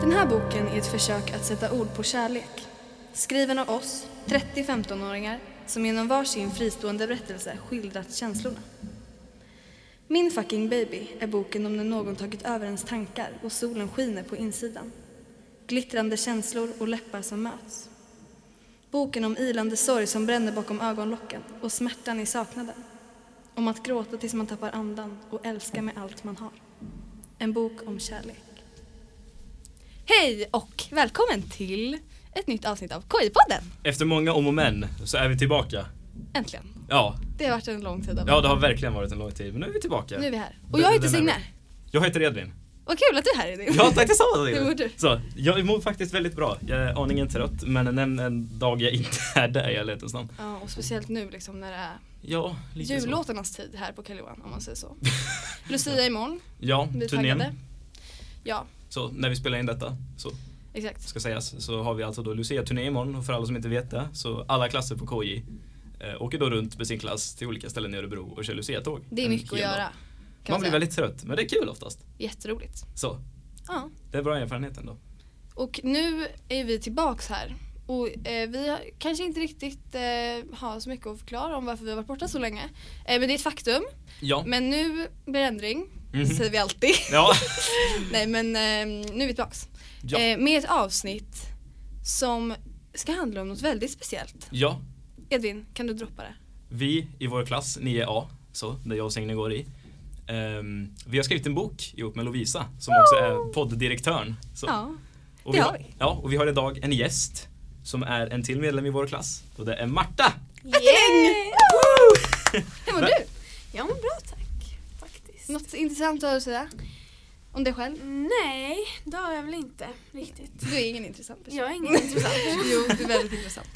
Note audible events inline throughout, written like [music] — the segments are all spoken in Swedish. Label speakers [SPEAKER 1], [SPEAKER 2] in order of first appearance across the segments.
[SPEAKER 1] Den här boken är ett försök att sätta ord på kärlek. Skriven av oss, 30-15-åringar, som genom varsin fristående berättelse skildrat känslorna. Min fucking baby är boken om när någon tagit över ens tankar och solen skiner på insidan. Glittrande känslor och läppar som möts. Boken om ilande sorg som bränner bakom ögonlocken och smärtan i saknaden. Om att gråta tills man tappar andan och älska med allt man har. En bok om kärlek. Hej och välkommen till ett nytt avsnitt av KI-podden.
[SPEAKER 2] Efter många om och men så är vi tillbaka.
[SPEAKER 1] Äntligen.
[SPEAKER 2] Ja,
[SPEAKER 1] Det har varit en lång tid av
[SPEAKER 2] ja det har verkligen varit en lång tid men nu är vi tillbaka.
[SPEAKER 1] Nu är vi här. Och jag heter
[SPEAKER 2] Den är
[SPEAKER 1] Signe.
[SPEAKER 2] vi. Jag
[SPEAKER 1] [laughs]
[SPEAKER 2] heter Edvin.
[SPEAKER 1] Vad kul att du är här Edvin.
[SPEAKER 2] Ja tack
[SPEAKER 1] [laughs]
[SPEAKER 2] detsamma
[SPEAKER 1] Hur mår du?
[SPEAKER 2] Så, jag mår faktiskt väldigt bra. Jag är aningen trött men nämn en dag jag inte är där i ärlighetens namn.
[SPEAKER 1] Ja, och speciellt nu liksom när det är
[SPEAKER 2] Ja, lite så.
[SPEAKER 1] jullåtarnas tid här på Karl Johan om man säger så. Lucia imorgon.
[SPEAKER 2] [laughs] Ja,
[SPEAKER 1] Vi är
[SPEAKER 2] turnén.
[SPEAKER 1] taggade. Ja,
[SPEAKER 2] Så när vi spelar in detta så
[SPEAKER 1] exakt.
[SPEAKER 2] ska sägas så har vi alltså då Lucia-turné imorgon och för alla som inte vet det så alla klasser på KJ eh, åker då runt med sin klass till olika ställen i Örebro och kör Lucia-tåg.
[SPEAKER 1] Det är
[SPEAKER 2] En
[SPEAKER 1] mycket att
[SPEAKER 2] hel dag.
[SPEAKER 1] göra. Kan
[SPEAKER 2] Man blir
[SPEAKER 1] säga.
[SPEAKER 2] väldigt trött men det är kul oftast.
[SPEAKER 1] Jätteroligt.
[SPEAKER 2] Så,
[SPEAKER 1] Ja.
[SPEAKER 2] det är bra erfarenhet ändå.
[SPEAKER 1] Och nu är vi tillbaks här. Och eh, vi har- kanske inte riktigt eh, har så mycket att förklara om varför vi har varit borta så länge. Eh, men det är ett faktum.
[SPEAKER 2] Ja.
[SPEAKER 1] Men nu blir det ändring,
[SPEAKER 2] Mhm.
[SPEAKER 1] säger vi alltid.
[SPEAKER 2] Ja.
[SPEAKER 1] [laughs] Nej men eh, nu är vi tillbaks.
[SPEAKER 2] Ja.
[SPEAKER 1] Eh, med ett avsnitt som ska handla om något väldigt speciellt.
[SPEAKER 2] ja,
[SPEAKER 1] Edvin, kan du droppa det?
[SPEAKER 2] vi i vår klass 9A, så, där jag och Signe går i, ehm, vi har skrivit en bok ihop med Lovisa som också är podddirektören. Så.
[SPEAKER 1] Ja.
[SPEAKER 2] och
[SPEAKER 1] det
[SPEAKER 2] vi
[SPEAKER 1] har
[SPEAKER 2] har
[SPEAKER 1] vi.
[SPEAKER 2] Ja, och vi har idag en gäst som är en till medlem i vår klass och det är Marta!
[SPEAKER 1] Ättling! Hur mår
[SPEAKER 2] Men-
[SPEAKER 1] du?
[SPEAKER 3] Jag mår bra tack, faktiskt.
[SPEAKER 1] Något intressant att säga? Om dig själv?
[SPEAKER 3] Nej, det har jag väl inte riktigt.
[SPEAKER 1] Du är ingen intressant person.
[SPEAKER 3] Jag är ingen intressant person.
[SPEAKER 1] [laughs] Jo, det är väldigt intressant.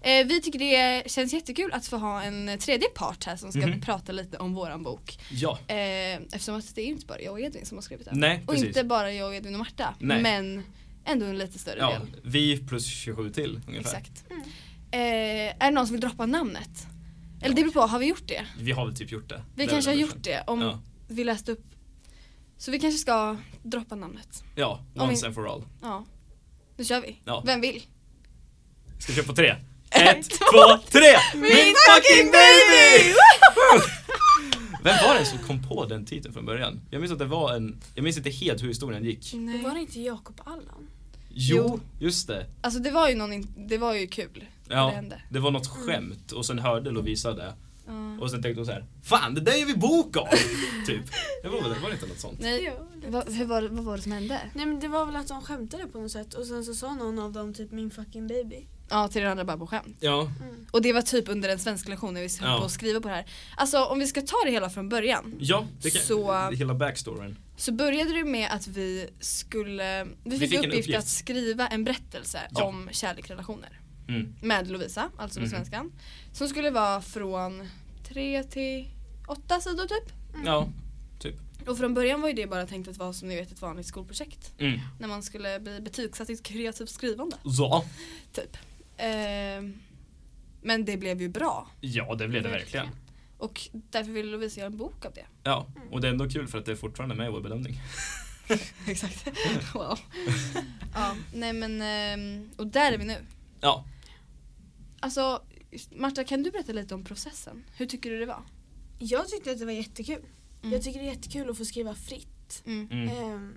[SPEAKER 1] Eh, vi tycker det känns jättekul att få ha en tredje part här som ska
[SPEAKER 2] Mhm.
[SPEAKER 1] prata lite om våran bok.
[SPEAKER 2] [laughs] Ja,
[SPEAKER 1] Eh, eftersom att det är ju inte bara jag och Edvin som har skrivit den.
[SPEAKER 2] Nej,
[SPEAKER 1] och
[SPEAKER 2] precis.
[SPEAKER 1] inte bara jag och Edvin och Marta.
[SPEAKER 2] Nej.
[SPEAKER 1] Men ändå en lite större
[SPEAKER 2] ja,
[SPEAKER 1] del.
[SPEAKER 2] vi plus 27 till ungefär.
[SPEAKER 1] Exakt.
[SPEAKER 3] Mm.
[SPEAKER 1] Eh, är det någon som vill droppa namnet? Eller det beror på, har vi gjort det?
[SPEAKER 2] Vi har väl typ gjort det.
[SPEAKER 1] Vi
[SPEAKER 2] Det är
[SPEAKER 1] kanske har
[SPEAKER 2] väl
[SPEAKER 1] gjort det om
[SPEAKER 2] Ja.
[SPEAKER 1] vi läste upp. Så vi kanske ska droppa namnet.
[SPEAKER 2] Ja,
[SPEAKER 1] Om
[SPEAKER 2] once
[SPEAKER 1] vi-
[SPEAKER 2] and for all.
[SPEAKER 1] Ja. Nu kör vi.
[SPEAKER 2] Ja.
[SPEAKER 1] Vem vill?
[SPEAKER 2] Ska vi köra på tre? [laughs] Ett, två, tre! Min fucking baby! [laughs] Vem var det som kom på den titeln från början? Jag minns att det var en, jag minns inte helt hur historien gick.
[SPEAKER 1] Nej.
[SPEAKER 3] Var det inte Jakob Allan?
[SPEAKER 2] Jo, just det.
[SPEAKER 1] Alltså det var ju någon, in- det var ju kul. när
[SPEAKER 2] Ja,
[SPEAKER 1] Det hände.
[SPEAKER 2] det Mm. var något skämt och sen hörde Lovisa det
[SPEAKER 1] Ja.
[SPEAKER 2] och sen tänkte hon så här: Fan det där gör vi bok [laughs] av! typ. Det var, väl- var det inte något sånt?
[SPEAKER 1] Nej,
[SPEAKER 3] Jo, lite
[SPEAKER 1] vad, hur var, det- vad var det som hände?
[SPEAKER 3] Nej men det var väl att de skämtade på något sätt och sen så sa någon av dem typ min fucking baby.
[SPEAKER 1] Ja, till den andra bara på skämt.
[SPEAKER 2] Ja,
[SPEAKER 1] Och det var typ under en svensk lektion när vi höll
[SPEAKER 2] Ja.
[SPEAKER 1] på att skriva på det här. Alltså om vi ska ta det hela från början.
[SPEAKER 2] ja det kan,
[SPEAKER 1] Så-
[SPEAKER 2] hela backstoryn.
[SPEAKER 1] Så började det med att vi skulle, vi fick,
[SPEAKER 2] fick en
[SPEAKER 1] i uppgift,
[SPEAKER 2] uppgift.
[SPEAKER 1] att skriva en berättelse
[SPEAKER 2] Ja.
[SPEAKER 1] om kärleksrelationer.
[SPEAKER 2] Mm.
[SPEAKER 1] Med Lovisa, alltså
[SPEAKER 2] Mhm.
[SPEAKER 1] med svenskan. Som skulle vara från tre till åtta sidor typ.
[SPEAKER 2] Ja, typ.
[SPEAKER 1] Och från början var ju det bara tänkt att vara som ni vet ett vanligt skolprojekt.
[SPEAKER 2] Mm.
[SPEAKER 1] När man skulle bli betygsatt i ett kreativt skrivande.
[SPEAKER 2] Så.
[SPEAKER 1] Typ. Ehm, men det blev ju bra.
[SPEAKER 2] Ja, det blev det verkligen.
[SPEAKER 1] Och därför ville Lovisa göra en bok av det.
[SPEAKER 2] Ja, och det är ändå kul för att det är fortfarande med i
[SPEAKER 1] [laughs]
[SPEAKER 2] vår bedömning.
[SPEAKER 1] Exakt. [laughs] wow. ja, nej men, ehm, och där är vi nu.
[SPEAKER 2] Ja,
[SPEAKER 1] Alltså, Marta kan du berätta lite om processen? Hur tycker du det var?
[SPEAKER 3] Jag tyckte att det var jättekul.
[SPEAKER 1] Mm.
[SPEAKER 3] Jag tycker det är jättekul att få skriva fritt.
[SPEAKER 1] Mm.
[SPEAKER 2] Mm. [laughs]
[SPEAKER 3] Ehm.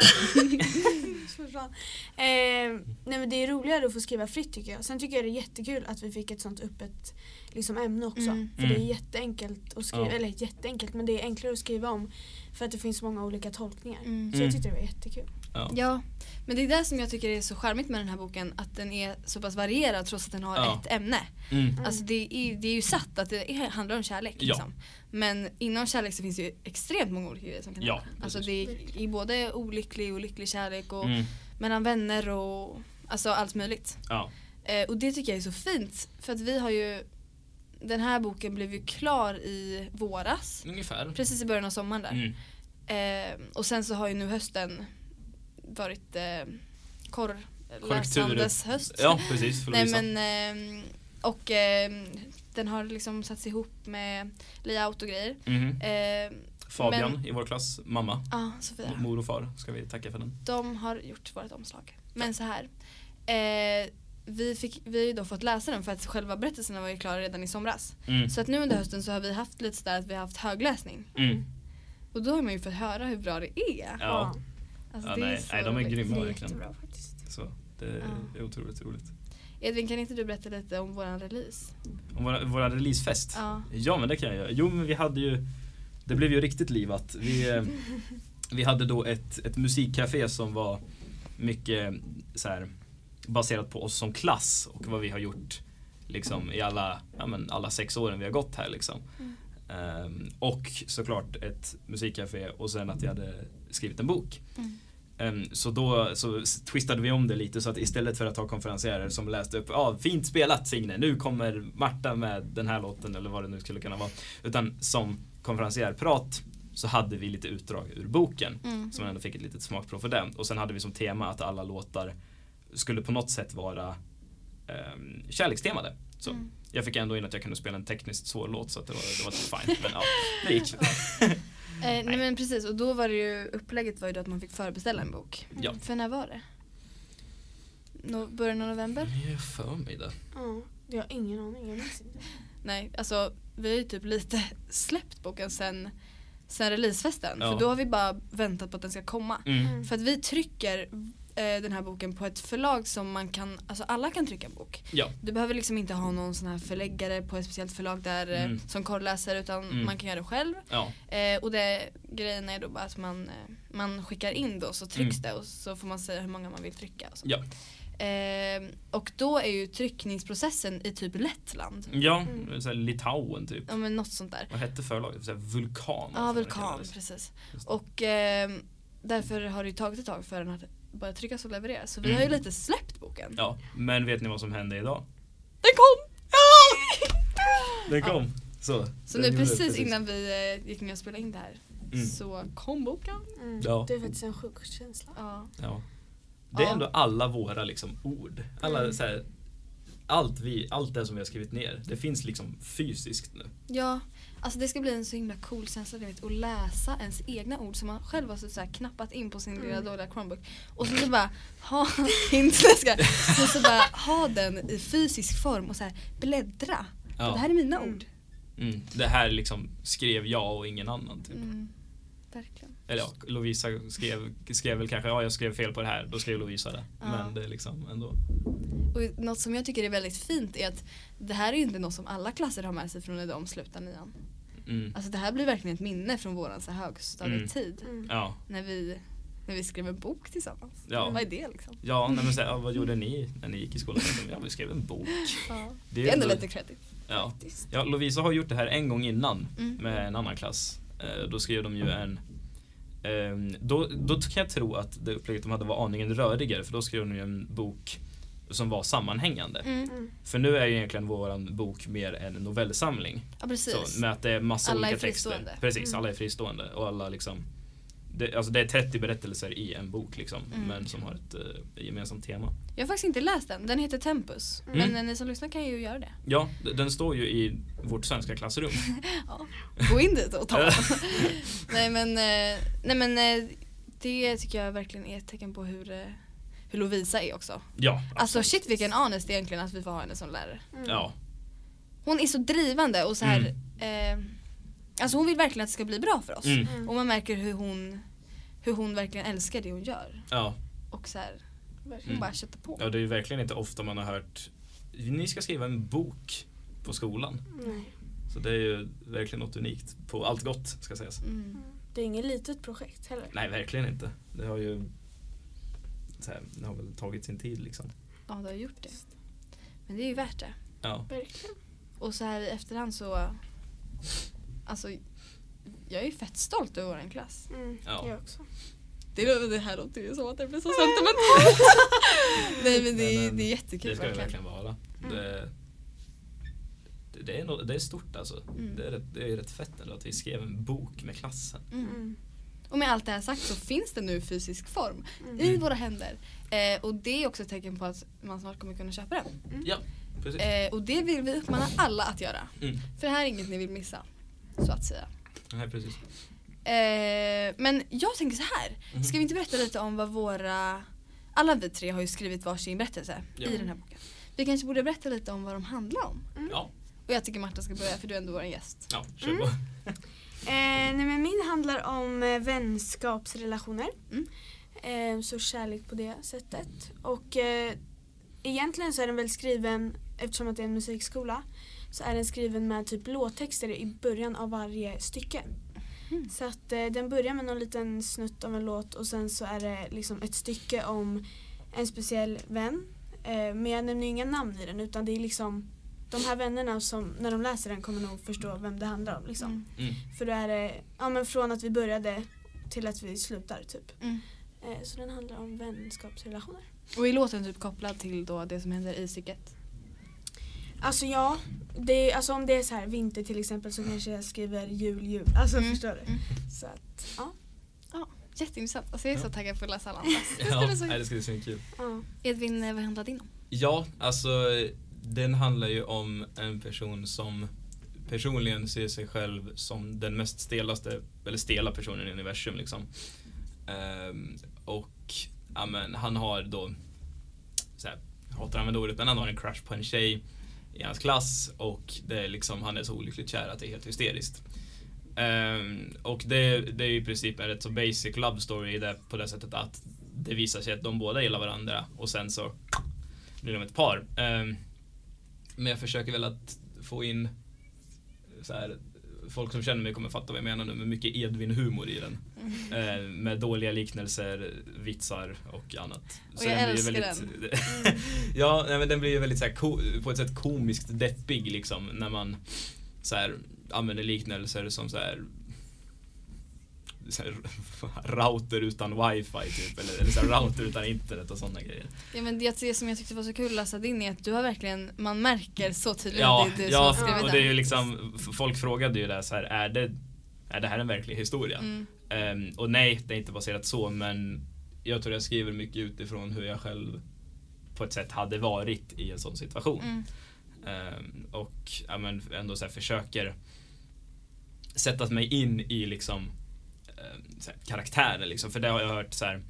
[SPEAKER 3] [laughs] Försvann. Ehm, nej men det är roligare att få skriva fritt tycker jag. Sen tycker jag det är jättekul att vi fick ett sånt öppet liksom, ämne också.
[SPEAKER 1] Mm.
[SPEAKER 3] För det
[SPEAKER 2] Mm.
[SPEAKER 3] är jätteenkelt att skriva,
[SPEAKER 2] Ja.
[SPEAKER 3] eller jätteenkelt men det är enklare att skriva om för att det finns många olika tolkningar.
[SPEAKER 1] Mm.
[SPEAKER 3] Så jag
[SPEAKER 2] Mm.
[SPEAKER 3] tyckte det var jättekul.
[SPEAKER 2] Ja.
[SPEAKER 1] Ja, men det är det som jag tycker är så charmigt med den här boken, att den är så pass varierad trots att den har
[SPEAKER 2] Ja.
[SPEAKER 1] ett ämne.
[SPEAKER 2] Mm.
[SPEAKER 1] Alltså det är, det är ju satt att det är- handlar om kärlek.
[SPEAKER 2] Ja.
[SPEAKER 1] Liksom. Men inom kärlek så finns det ju extremt många olika grejer som kan
[SPEAKER 2] Ja,
[SPEAKER 1] hända. Alltså det
[SPEAKER 2] precis.
[SPEAKER 1] är i både olycklig och lycklig kärlek och
[SPEAKER 2] Mm.
[SPEAKER 1] mellan vänner och alltså allt möjligt.
[SPEAKER 2] Ja.
[SPEAKER 1] Eh, och det tycker jag är så fint för att vi har ju den här boken blev ju klar i våras.
[SPEAKER 2] Ungefär.
[SPEAKER 1] Precis i början av sommaren där.
[SPEAKER 2] Mm.
[SPEAKER 1] Eh, och sen så har ju nu hösten varit eh, korr,
[SPEAKER 2] Korrektur.
[SPEAKER 1] läsandes höst.
[SPEAKER 2] Ja, precis. För
[SPEAKER 1] Nej
[SPEAKER 2] Lovisa.
[SPEAKER 1] men ehm, och ehm, den har liksom satts ihop med layout och grejer.
[SPEAKER 2] Mhm.
[SPEAKER 1] Eh,
[SPEAKER 2] Fabian i vår klass, mamma,
[SPEAKER 1] Ja, Sofia.
[SPEAKER 2] mor och far ska vi tacka för den.
[SPEAKER 1] De har gjort vårt omslag. Men så här. Eh, vi, fick, vi har ju då fått läsa den för att själva berättelserna var ju klara redan i somras.
[SPEAKER 2] Mm.
[SPEAKER 1] Så att nu under hösten så har vi haft lite sådär att vi har haft högläsning.
[SPEAKER 2] Mm.
[SPEAKER 1] Och då har man ju fått höra hur bra det är.
[SPEAKER 2] Ja.
[SPEAKER 1] Alltså,
[SPEAKER 2] Ja,
[SPEAKER 1] det
[SPEAKER 2] nej,
[SPEAKER 1] så
[SPEAKER 2] nej, de är
[SPEAKER 1] roligt.
[SPEAKER 2] grymma
[SPEAKER 3] Det är
[SPEAKER 2] verkligen.
[SPEAKER 3] jättebra faktiskt.
[SPEAKER 2] Så det är
[SPEAKER 1] Ja.
[SPEAKER 2] otroligt roligt.
[SPEAKER 1] Edvin kan inte du berätta lite om våran release?
[SPEAKER 2] Om våra, våra releasefest.
[SPEAKER 1] Ja.
[SPEAKER 2] Ja men det kan jag göra. Jo men vi hade ju Det blev ju riktigt livat.
[SPEAKER 1] [laughs]
[SPEAKER 2] Vi, eh, vi hade då ett, ett musikcafé som var mycket så här, baserat på oss som klass och vad vi har gjort liksom, i alla, ja, men alla sex åren vi har gått här. Liksom.
[SPEAKER 1] Mm.
[SPEAKER 2] Ehm, och såklart ett musikcafé och sen att vi hade skrivit en bok.
[SPEAKER 1] Mm.
[SPEAKER 2] Ehm, så då så s- twistade vi om det lite så att istället för att ha konferencierer som läste upp ah, “Fint spelat Signe, nu kommer Marta med den här låten” eller vad det nu skulle kunna vara. Utan som konferencierprat så hade vi lite utdrag ur boken.
[SPEAKER 1] Mm.
[SPEAKER 2] Så man ändå fick ett litet smakprov för det. Och sen hade vi som tema att alla låtar skulle på något sätt vara ehm, kärlekstemade. Så.
[SPEAKER 1] Mm.
[SPEAKER 2] Jag fick ändå in att jag kunde spela en tekniskt svår låt så att det var, det var fine. Men ja,
[SPEAKER 1] [laughs]
[SPEAKER 2] det gick.
[SPEAKER 1] Eh, nej. men precis och då var det ju upplägget var ju då att man fick förbeställa en bok.
[SPEAKER 2] Ja.
[SPEAKER 1] Mm. För när var det? No, början av november?
[SPEAKER 2] Jag har för mig det.
[SPEAKER 3] Ja, jag har ingen aning. Jag minns inte.
[SPEAKER 1] Nej, alltså vi har ju typ lite [laughs] släppt boken sen, sen releasefesten.
[SPEAKER 2] Ja.
[SPEAKER 1] För då har vi bara väntat på att den ska komma.
[SPEAKER 2] Mm.
[SPEAKER 1] För att vi trycker eh, den här boken på ett förlag som man kan, alltså alla kan trycka en bok.
[SPEAKER 2] Ja.
[SPEAKER 1] Du behöver liksom inte ha någon sån här förläggare på ett speciellt förlag där eh,
[SPEAKER 2] Mm.
[SPEAKER 1] som korrläser utan
[SPEAKER 2] Mm.
[SPEAKER 1] man kan göra det själv.
[SPEAKER 2] Ja.
[SPEAKER 1] Eh, och det, grejen är då bara att man, eh, man skickar in då så trycks
[SPEAKER 2] Mm.
[SPEAKER 1] det och så får man säga hur många man vill trycka. Och, så.
[SPEAKER 2] Ja.
[SPEAKER 1] Eh, och då är ju tryckningsprocessen i typ Lettland.
[SPEAKER 2] Ja,
[SPEAKER 3] Mm.
[SPEAKER 2] så här Litauen typ.
[SPEAKER 1] Ja men något sånt där.
[SPEAKER 2] Vad hette förlaget? Så här vulkan.
[SPEAKER 1] Ja,
[SPEAKER 2] vad det
[SPEAKER 1] vulkan
[SPEAKER 2] kallades.
[SPEAKER 1] precis.
[SPEAKER 2] Just det.
[SPEAKER 1] Och eh, därför har det ju tagit ett tag för den att börja tryckas och levereras. Så vi har ju
[SPEAKER 2] Mm.
[SPEAKER 1] lite släppt boken.
[SPEAKER 2] Ja, men vet ni vad som hände idag?
[SPEAKER 1] Den kom!
[SPEAKER 2] [laughs] Den
[SPEAKER 1] Ja.
[SPEAKER 2] kom. Så,
[SPEAKER 1] Så
[SPEAKER 2] Den
[SPEAKER 1] nu
[SPEAKER 2] gjorde det,
[SPEAKER 1] precis, innan vi eh, gick ner och spelade in det här
[SPEAKER 2] Mm.
[SPEAKER 1] så kom boken.
[SPEAKER 3] Mm.
[SPEAKER 2] Ja.
[SPEAKER 3] Det är faktiskt en sjuk känsla.
[SPEAKER 1] Ja.
[SPEAKER 2] Ja. Det är
[SPEAKER 1] Ja.
[SPEAKER 2] ändå alla våra liksom, ord. Alla,
[SPEAKER 3] Mm.
[SPEAKER 2] så här, allt, vi, allt det som vi har skrivit ner, det finns liksom fysiskt nu.
[SPEAKER 1] Ja, alltså det ska bli en så himla cool känsla du vet, att läsa ens egna ord som man själv har så så här knappat in på sin lilla
[SPEAKER 3] Mm.
[SPEAKER 1] dåliga Chromebook och så, så bara ha, [laughs] inte ska, så, så bara ha den i fysisk form och så här bläddra.
[SPEAKER 2] Ja.
[SPEAKER 1] Det här är mina
[SPEAKER 3] Mm.
[SPEAKER 1] ord.
[SPEAKER 2] Mm. Det här liksom skrev jag och ingen annan. Typ.
[SPEAKER 1] Mm, verkligen.
[SPEAKER 2] Eller ja, Lovisa skrev, skrev väl kanske, ja jag skrev fel på det här, då skrev Lovisa det.
[SPEAKER 1] Ja.
[SPEAKER 2] Men det är liksom ändå.
[SPEAKER 1] Och något som jag tycker är väldigt fint är att det här är ju inte något som alla klasser har med sig från när de slutar nian.
[SPEAKER 2] Mm.
[SPEAKER 1] Alltså det här blir verkligen ett minne från våran så här högstadietid
[SPEAKER 3] Mm.
[SPEAKER 2] Ja,
[SPEAKER 1] när, vi, när vi skrev en bok tillsammans.
[SPEAKER 2] Ja.
[SPEAKER 1] Vad är det liksom?
[SPEAKER 2] ja nej, men så här, ja, vad gjorde ni när ni gick i skolan? Ja, vi skrev en bok.
[SPEAKER 1] Ja.
[SPEAKER 2] är
[SPEAKER 1] Det är ändå
[SPEAKER 2] ändå-
[SPEAKER 1] lite credit.
[SPEAKER 2] Ja.
[SPEAKER 3] Faktiskt.
[SPEAKER 2] ja, Lovisa har gjort det här en gång innan
[SPEAKER 1] Mm.
[SPEAKER 2] med en annan klass. Eh, Då skrev de ju en ehm, då, då kan jag tro att det upplägget de hade var aningen rörigare för då skrev de ju en bok som var sammanhängande.
[SPEAKER 1] Mm.
[SPEAKER 3] Mm.
[SPEAKER 2] För nu är ju egentligen våran bok mer en novellsamling.
[SPEAKER 1] Ja precis.
[SPEAKER 2] Så, med att det är massa
[SPEAKER 1] Alla är
[SPEAKER 2] olika texter.
[SPEAKER 1] fristående.
[SPEAKER 2] Precis,
[SPEAKER 3] Mm.
[SPEAKER 2] alla är fristående och alla liksom det, alltså det är 30 berättelser i en bok liksom,
[SPEAKER 1] Mm.
[SPEAKER 2] men som har ett eh, gemensamt tema.
[SPEAKER 1] Jag har faktiskt inte läst den. Den heter Tempus.
[SPEAKER 3] Mm.
[SPEAKER 1] Men eh, ni som lyssnar kan ju göra [laughs] det.
[SPEAKER 2] Ja, d- den står ju i vårt
[SPEAKER 1] [laughs]
[SPEAKER 2] svenska klassrum.
[SPEAKER 1] Ja. Gå in dit och ta. [laughs] nej men, eh, nej, men eh, det tycker jag verkligen är ett tecken på hur, eh, hur Lovisa är också.
[SPEAKER 2] ja,
[SPEAKER 1] Alltså shit vilken honest egentligen att vi får ha henne som lärare.
[SPEAKER 3] Mm.
[SPEAKER 2] ja,
[SPEAKER 1] Hon är så drivande och så här. Eh, alltså hon vill verkligen att det ska bli bra för oss.
[SPEAKER 2] mm,
[SPEAKER 3] Mm.
[SPEAKER 1] Och man märker hur hon, hur hon verkligen älskar det hon gör.
[SPEAKER 2] ja.
[SPEAKER 1] Och så här, hon
[SPEAKER 3] Verkligen.
[SPEAKER 1] bara köttar på.
[SPEAKER 2] Mm. ja, det är ju verkligen inte ofta man har hört ni ska skriva en bok på skolan.
[SPEAKER 3] Nej.
[SPEAKER 2] Så det är ju verkligen något unikt på allt gott ska sägas.
[SPEAKER 1] Mm.
[SPEAKER 3] Det är inget litet projekt heller.
[SPEAKER 2] Nej, verkligen inte. Det har ju så här, det har väl tagit sin tid liksom.
[SPEAKER 1] Ja, du har gjort det. Men det är ju värt det.
[SPEAKER 2] Ja.
[SPEAKER 3] Verkligen.
[SPEAKER 1] Och så här i efterhand så... Alltså, jag är ju fett stolt över vår klass.
[SPEAKER 3] Mm,
[SPEAKER 2] Ja.
[SPEAKER 3] Jag också.
[SPEAKER 1] Det, det här låter ju som att det blir så sentimentalt. [laughs] Nej men det,
[SPEAKER 2] Nej,
[SPEAKER 1] är det
[SPEAKER 2] men
[SPEAKER 1] är
[SPEAKER 2] Det
[SPEAKER 1] jättekul
[SPEAKER 2] ska det
[SPEAKER 1] verkligen. Mm.
[SPEAKER 2] verkligen vara. Det, det- det, är nog, det är stort alltså.
[SPEAKER 1] Mm.
[SPEAKER 2] Det, är rätt, det är rätt fett ändå att vi skrev en bok med klassen.
[SPEAKER 1] Mm.
[SPEAKER 3] Mm.
[SPEAKER 1] Och med allt det här sagt så finns det nu i fysisk form
[SPEAKER 3] Mm.
[SPEAKER 1] i
[SPEAKER 2] Mm.
[SPEAKER 1] våra händer. Eh, och det är också ett tecken på att man snart kommer kunna köpa den.
[SPEAKER 2] Ja, precis.
[SPEAKER 1] Mm. Eh, och det vill vi uppmana alla att göra.
[SPEAKER 2] Mm.
[SPEAKER 1] För det här är inget ni vill missa. Så att säga.
[SPEAKER 2] Nej, precis.
[SPEAKER 1] Eh, men jag tänker så här.
[SPEAKER 2] Mhm.
[SPEAKER 1] Ska vi inte berätta lite om vad våra... Alla vi tre har ju skrivit varsin berättelse
[SPEAKER 2] Ja.
[SPEAKER 1] i den här boken. Vi kanske borde berätta lite om vad de handlar om.
[SPEAKER 2] Ja,
[SPEAKER 1] Och jag tycker Marta ska börja för du är ändå vår gäst.
[SPEAKER 2] ja kör
[SPEAKER 1] [laughs]
[SPEAKER 2] på.
[SPEAKER 3] Eh, nej, men min handlar om eh, vänskapsrelationer.
[SPEAKER 1] Mm.
[SPEAKER 3] Eh, så kärlek på det sättet. Och eh, egentligen så är den väl skriven, eftersom att det är en musikskola, så är den skriven med typ låttexter i början av varje stycke.
[SPEAKER 1] Mhm.
[SPEAKER 3] Så att eh, den börjar med någon liten snutt av en låt och sen så är det liksom ett stycke om en speciell vän. Eh, men jag nämner ju inga namn i den utan det är liksom de här vännerna som när de läser den kommer nog förstå vem det handlar om. Liksom.
[SPEAKER 1] Mm.
[SPEAKER 2] Mm.
[SPEAKER 3] För då är det ja, men från att vi började till att vi slutar typ.
[SPEAKER 1] Mm.
[SPEAKER 3] Eh, så den handlar om vänskapsrelationer.
[SPEAKER 1] Och är låten typ kopplad till då det som händer i stycket?
[SPEAKER 3] Alltså ja, det är, alltså, om det är så här vinter till exempel så kanske jag skriver jul, jul. Alltså
[SPEAKER 1] Mm.
[SPEAKER 3] förstår du?
[SPEAKER 1] Mm.
[SPEAKER 3] Så att, ja.
[SPEAKER 1] Jätteintressant. Alltså jag är så
[SPEAKER 2] Ja.
[SPEAKER 1] taggad för att läsa alla andras. Det ska
[SPEAKER 2] [laughs] Ja,
[SPEAKER 1] bli så
[SPEAKER 2] nej,
[SPEAKER 1] kul.
[SPEAKER 2] det ska bli så kul.
[SPEAKER 3] ja.
[SPEAKER 1] Edvin, eh, vad handlar din om?
[SPEAKER 2] Ja, alltså den handlar ju om en person som personligen ser sig själv som den mest stelaste, eller stela personen i universum liksom. Ehm, och ja, men, han har då, så här, jag hatar att använda ordet, men han har en crush på en tjej i hans klass och det är liksom, han är så olyckligt kär att det är helt hysteriskt. Ehm, och det, det är ju i princip en rätt så basic love story där, på det sättet att det visar sig att de båda gillar varandra och sen så blir de ett par. Ehm, men jag försöker väl att få in så här, folk som känner mig kommer fatta vad jag menar nu med mycket Edvin-humor i den.
[SPEAKER 1] Mm.
[SPEAKER 2] Ehm, med dåliga liknelser, vitsar och annat.
[SPEAKER 1] Och jag
[SPEAKER 2] blir ju
[SPEAKER 1] älskar
[SPEAKER 2] väldigt, den. [laughs] ja, nej, men den blir ju väldigt så här, ko- på ett sätt komiskt deppig liksom när man så här, använder liknelser som så här så här, [laughs] router utan wifi typ eller, eller så här, router utan internet och sådana grejer.
[SPEAKER 1] Ja, men det, det som jag tyckte var så kul att läsa din är att du har verkligen, man märker så tydligt
[SPEAKER 2] Ja,
[SPEAKER 1] att det är du
[SPEAKER 2] ja
[SPEAKER 1] som har skrivit
[SPEAKER 2] och det är ju
[SPEAKER 1] den.
[SPEAKER 2] liksom, f- folk frågade ju där så här, är det, är det här en verklig historia?
[SPEAKER 1] Mm.
[SPEAKER 2] Ehm, och nej, det är inte baserat så, men jag tror jag skriver mycket utifrån hur jag själv på ett sätt hade varit i en sån situation.
[SPEAKER 1] Mm.
[SPEAKER 2] Ehm, och ja, men ändå så här försöker sätta mig in i liksom eh, så här, karaktären liksom. För det har jag hört så här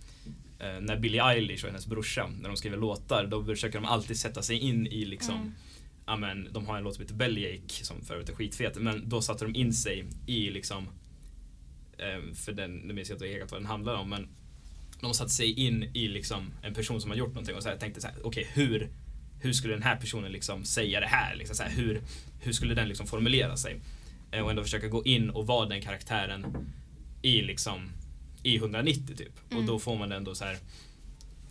[SPEAKER 2] eh, när Billie Eilish och hennes brorsa, när de skriver låtar, då försöker de alltid sätta sig in i liksom
[SPEAKER 1] Mm.
[SPEAKER 2] ja, men, de har en låt som heter Bellyache som för övrigt är skitfet, men då satte de in sig i liksom eh, för den, nu minns jag inte exakt vad den handlar om, men de satte sig in i liksom en person som har gjort någonting och så här, tänkte så här, okej hur, hur skulle den här personen liksom säga det här? Liksom, så här hur, hur skulle den liksom formulera sig? Eh, och ändå försöka gå in och vara den karaktären i liksom i 190 typ.
[SPEAKER 1] Mm.
[SPEAKER 2] Och då får man det ändå så här,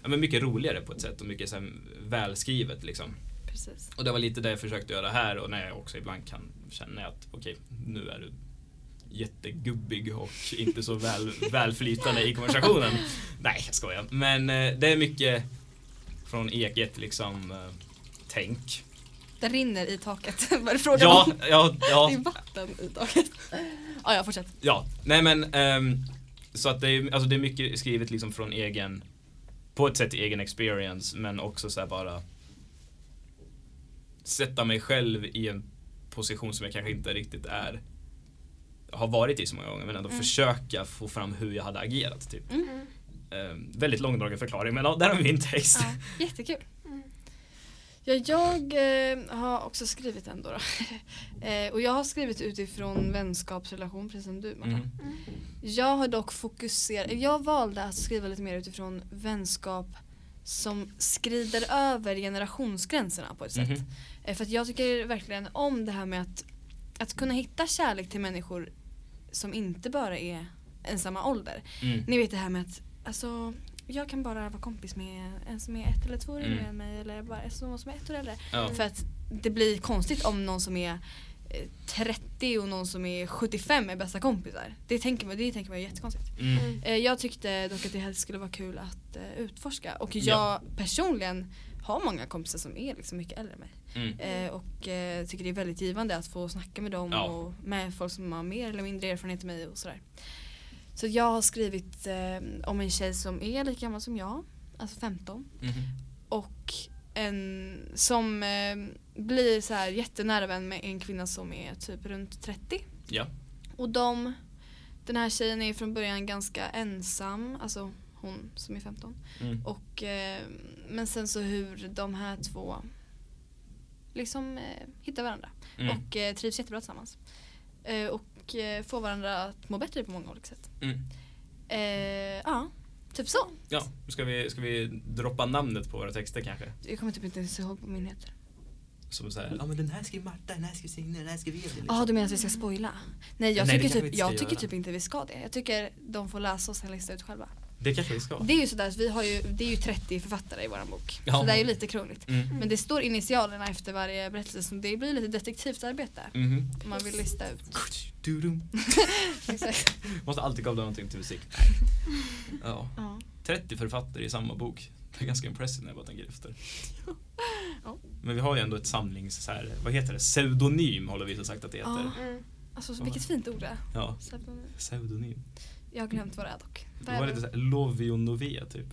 [SPEAKER 2] ja, men mycket roligare på ett sätt och mycket så här, välskrivet liksom.
[SPEAKER 1] Precis.
[SPEAKER 2] Och det var lite det jag försökte göra här och när jag också ibland kan känna att okej, nu är du jättegubbig och inte så väl, välflytande i konversationen. Nej, jag skojar. Men eh, det är mycket från eget liksom eh, tänk.
[SPEAKER 1] Det rinner i taket, [laughs] vad är det frågan
[SPEAKER 2] Ja,
[SPEAKER 1] om?
[SPEAKER 2] ja,
[SPEAKER 1] Det är
[SPEAKER 2] ja,
[SPEAKER 1] vatten i taket. Ja, ja, fortsätt.
[SPEAKER 2] ja. Nej men ehm, så att det är, alltså det är mycket skrivet liksom från egen, på ett sätt egen experience men också så här bara sätta mig själv i en position som jag kanske inte riktigt är har varit i så många gånger men ändå
[SPEAKER 1] Mm.
[SPEAKER 2] försöka få fram hur jag hade agerat. Typ.
[SPEAKER 1] Mm.
[SPEAKER 3] Mm.
[SPEAKER 2] Ehm, väldigt långdragen förklaring men ja, där har vi min text.
[SPEAKER 1] Ja, jättekul.
[SPEAKER 3] Mm.
[SPEAKER 1] Ja, jag eh, har också skrivit en då. då. [laughs] eh, och jag har skrivit utifrån vänskapsrelation, precis som du Marta.
[SPEAKER 2] [laughs] Mm.
[SPEAKER 3] Mm.
[SPEAKER 1] Jag har dock fokuserat, jag valde att skriva lite mer utifrån vänskap som skrider över generationsgränserna på ett sätt.
[SPEAKER 2] Mhm.
[SPEAKER 1] Eh, För att jag tycker verkligen om det här med att, att kunna hitta kärlek till människor som inte bara är en samma ålder.
[SPEAKER 2] Mm.
[SPEAKER 1] Ni vet det här med att alltså, jag kan bara vara kompis med en som är ett eller två år yngre
[SPEAKER 2] Mm.
[SPEAKER 1] än mig eller bara en som som är ett år äldre.
[SPEAKER 2] Ja. Mm.
[SPEAKER 1] För att det blir konstigt om någon som är eh, 30 och någon som är 75 är bästa kompisar. Det tänker man, det tänker man är jättekonstigt.
[SPEAKER 2] Mm.
[SPEAKER 1] Eh, Jag tyckte dock att det här skulle vara kul att eh, utforska och jag
[SPEAKER 2] Ja.
[SPEAKER 1] personligen har många kompisar som är liksom mycket äldre än mig.
[SPEAKER 2] Mm.
[SPEAKER 1] Eh, och eh, tycker det är väldigt givande att få snacka med dem
[SPEAKER 2] Ja.
[SPEAKER 1] och med folk som har mer eller mindre erfarenhet än mig och sådär. Så jag har skrivit eh, om en tjej som är lika gammal som jag, alltså 15
[SPEAKER 2] Mhm.
[SPEAKER 1] och en som eh, blir så här jättenära vän med en kvinna som är typ runt 30.
[SPEAKER 2] Ja.
[SPEAKER 1] Och de, den här tjejen är från början ganska ensam, alltså hon som är 15.
[SPEAKER 2] Mm.
[SPEAKER 1] Och, eh, men sen så hur de här två liksom eh, hittar varandra
[SPEAKER 2] Mm.
[SPEAKER 1] och eh, trivs jättebra tillsammans. Eh, och eh, får varandra att må bättre på många olika sätt.
[SPEAKER 2] Mm.
[SPEAKER 1] Eh, ja, typ så.
[SPEAKER 2] Ja, ska vi, ska vi droppa namnet på våra texter kanske?
[SPEAKER 1] Jag kommer typ inte ens ihåg vad min heter.
[SPEAKER 2] Som så här, ja men den här skrev Marta, den här skrev Signe, den här skrev Edvin. liksom.
[SPEAKER 1] Ja, du menar att vi ska spoila? Nej, jag
[SPEAKER 2] Nej, det
[SPEAKER 1] tycker,
[SPEAKER 2] kanske vi
[SPEAKER 1] typ,
[SPEAKER 2] inte
[SPEAKER 1] jag
[SPEAKER 2] ska
[SPEAKER 1] tycker
[SPEAKER 2] göra.
[SPEAKER 1] typ inte vi ska det. Jag tycker de får läsa och sen lista ut själva.
[SPEAKER 2] Det kanske vi ska.
[SPEAKER 1] Det är ju sådär att vi har ju, det är ju 30 författare i vår bok.
[SPEAKER 2] Ja.
[SPEAKER 1] Så det är ju lite krångligt.
[SPEAKER 2] Mm.
[SPEAKER 1] Men det står initialerna efter varje berättelse så det blir lite detektivt arbete.
[SPEAKER 2] Mhm.
[SPEAKER 1] Om man vill lista ut.
[SPEAKER 2] Du-dum.
[SPEAKER 1] Exakt.
[SPEAKER 2] Måste alltid koppla någonting
[SPEAKER 1] [laughs]
[SPEAKER 2] till musik. Ja.
[SPEAKER 1] Ja.
[SPEAKER 2] 30 författare i samma bok. Det är ganska impressive när jag bara tänker efter.
[SPEAKER 1] Ja.
[SPEAKER 2] Men vi har ju ändå ett samlings, så här, vad heter det, pseudonym håller vi så sagt att det heter.
[SPEAKER 1] Ja.
[SPEAKER 3] Mm.
[SPEAKER 1] Alltså så vilket fint ord det är.
[SPEAKER 2] Ja,
[SPEAKER 1] Så att, mm,
[SPEAKER 2] pseudonym.
[SPEAKER 1] Jag har glömt vad det är dock.
[SPEAKER 2] Det
[SPEAKER 1] Vad är
[SPEAKER 2] var lite
[SPEAKER 1] det?
[SPEAKER 2] såhär Lovionovia typ.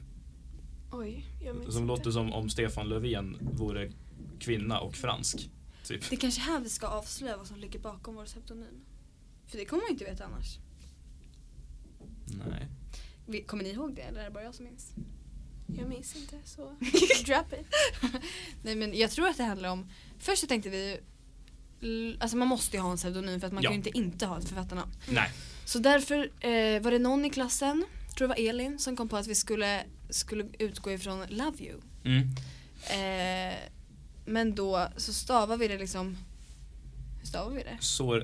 [SPEAKER 3] Oj, jag minns
[SPEAKER 2] Som
[SPEAKER 3] inte.
[SPEAKER 2] låter som om Stefan Löfven vore kvinna och fransk. Typ.
[SPEAKER 1] det är kanske här vi ska avslöja vad som ligger bakom vår pseudonym. För det kommer man ju inte veta annars.
[SPEAKER 2] Nej.
[SPEAKER 1] Vi- Kommer ni ihåg det eller är det bara jag som minns?
[SPEAKER 3] Jag minns inte så drop it.
[SPEAKER 1] Nej men jag tror att det handlar om, först så tänkte vi ju, l- alltså man måste ju ha en pseudonym för att man
[SPEAKER 2] Ja.
[SPEAKER 1] kan ju inte inte ha ett författarnamn.
[SPEAKER 2] Nej.
[SPEAKER 1] Så därför eh, var det någon i klassen, tror det var Elin, som kom på att vi skulle, skulle utgå ifrån Love You.
[SPEAKER 2] Mm.
[SPEAKER 1] Eh, men då så stavar vi det liksom, hur stavar vi det?
[SPEAKER 2] Så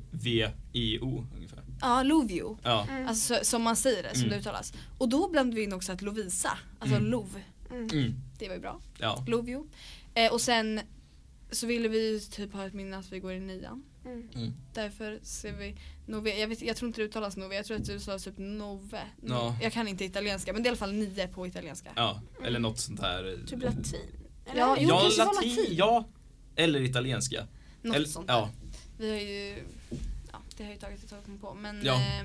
[SPEAKER 2] L-O-V-I-O ungefär.
[SPEAKER 1] Ja, Love You.
[SPEAKER 2] Ja.
[SPEAKER 3] Mm.
[SPEAKER 1] Alltså så- som man säger det, som
[SPEAKER 2] Mm.
[SPEAKER 1] det uttalas. Och då blandade vi in också att Lovisa, alltså
[SPEAKER 2] Mm.
[SPEAKER 1] Love,
[SPEAKER 3] Mm.
[SPEAKER 2] Mm.
[SPEAKER 1] det var ju bra.
[SPEAKER 2] Ja.
[SPEAKER 1] Love You. Eh, och sen så ville vi ju typ ha ett minne att vi går i nian.
[SPEAKER 3] Mm.
[SPEAKER 2] Mm.
[SPEAKER 1] Därför ser vi Nove, jag, vet, jag tror inte det uttalas Nove, jag tror att det uttalas typ Nove.
[SPEAKER 2] Ja.
[SPEAKER 1] Jag kan inte italienska men det är i alla fall nio på italienska.
[SPEAKER 2] ja. Eller något sånt där.
[SPEAKER 3] Typ latin. eller?
[SPEAKER 1] Ja, jo,
[SPEAKER 2] ja,
[SPEAKER 1] kanske var latin.
[SPEAKER 2] Ja. Eller italienska.
[SPEAKER 1] Något
[SPEAKER 2] eller,
[SPEAKER 1] sånt.
[SPEAKER 2] Ja.
[SPEAKER 1] Vi har ju, ja det har ju tagit ett tag att komma på men
[SPEAKER 2] Ja.
[SPEAKER 1] eh,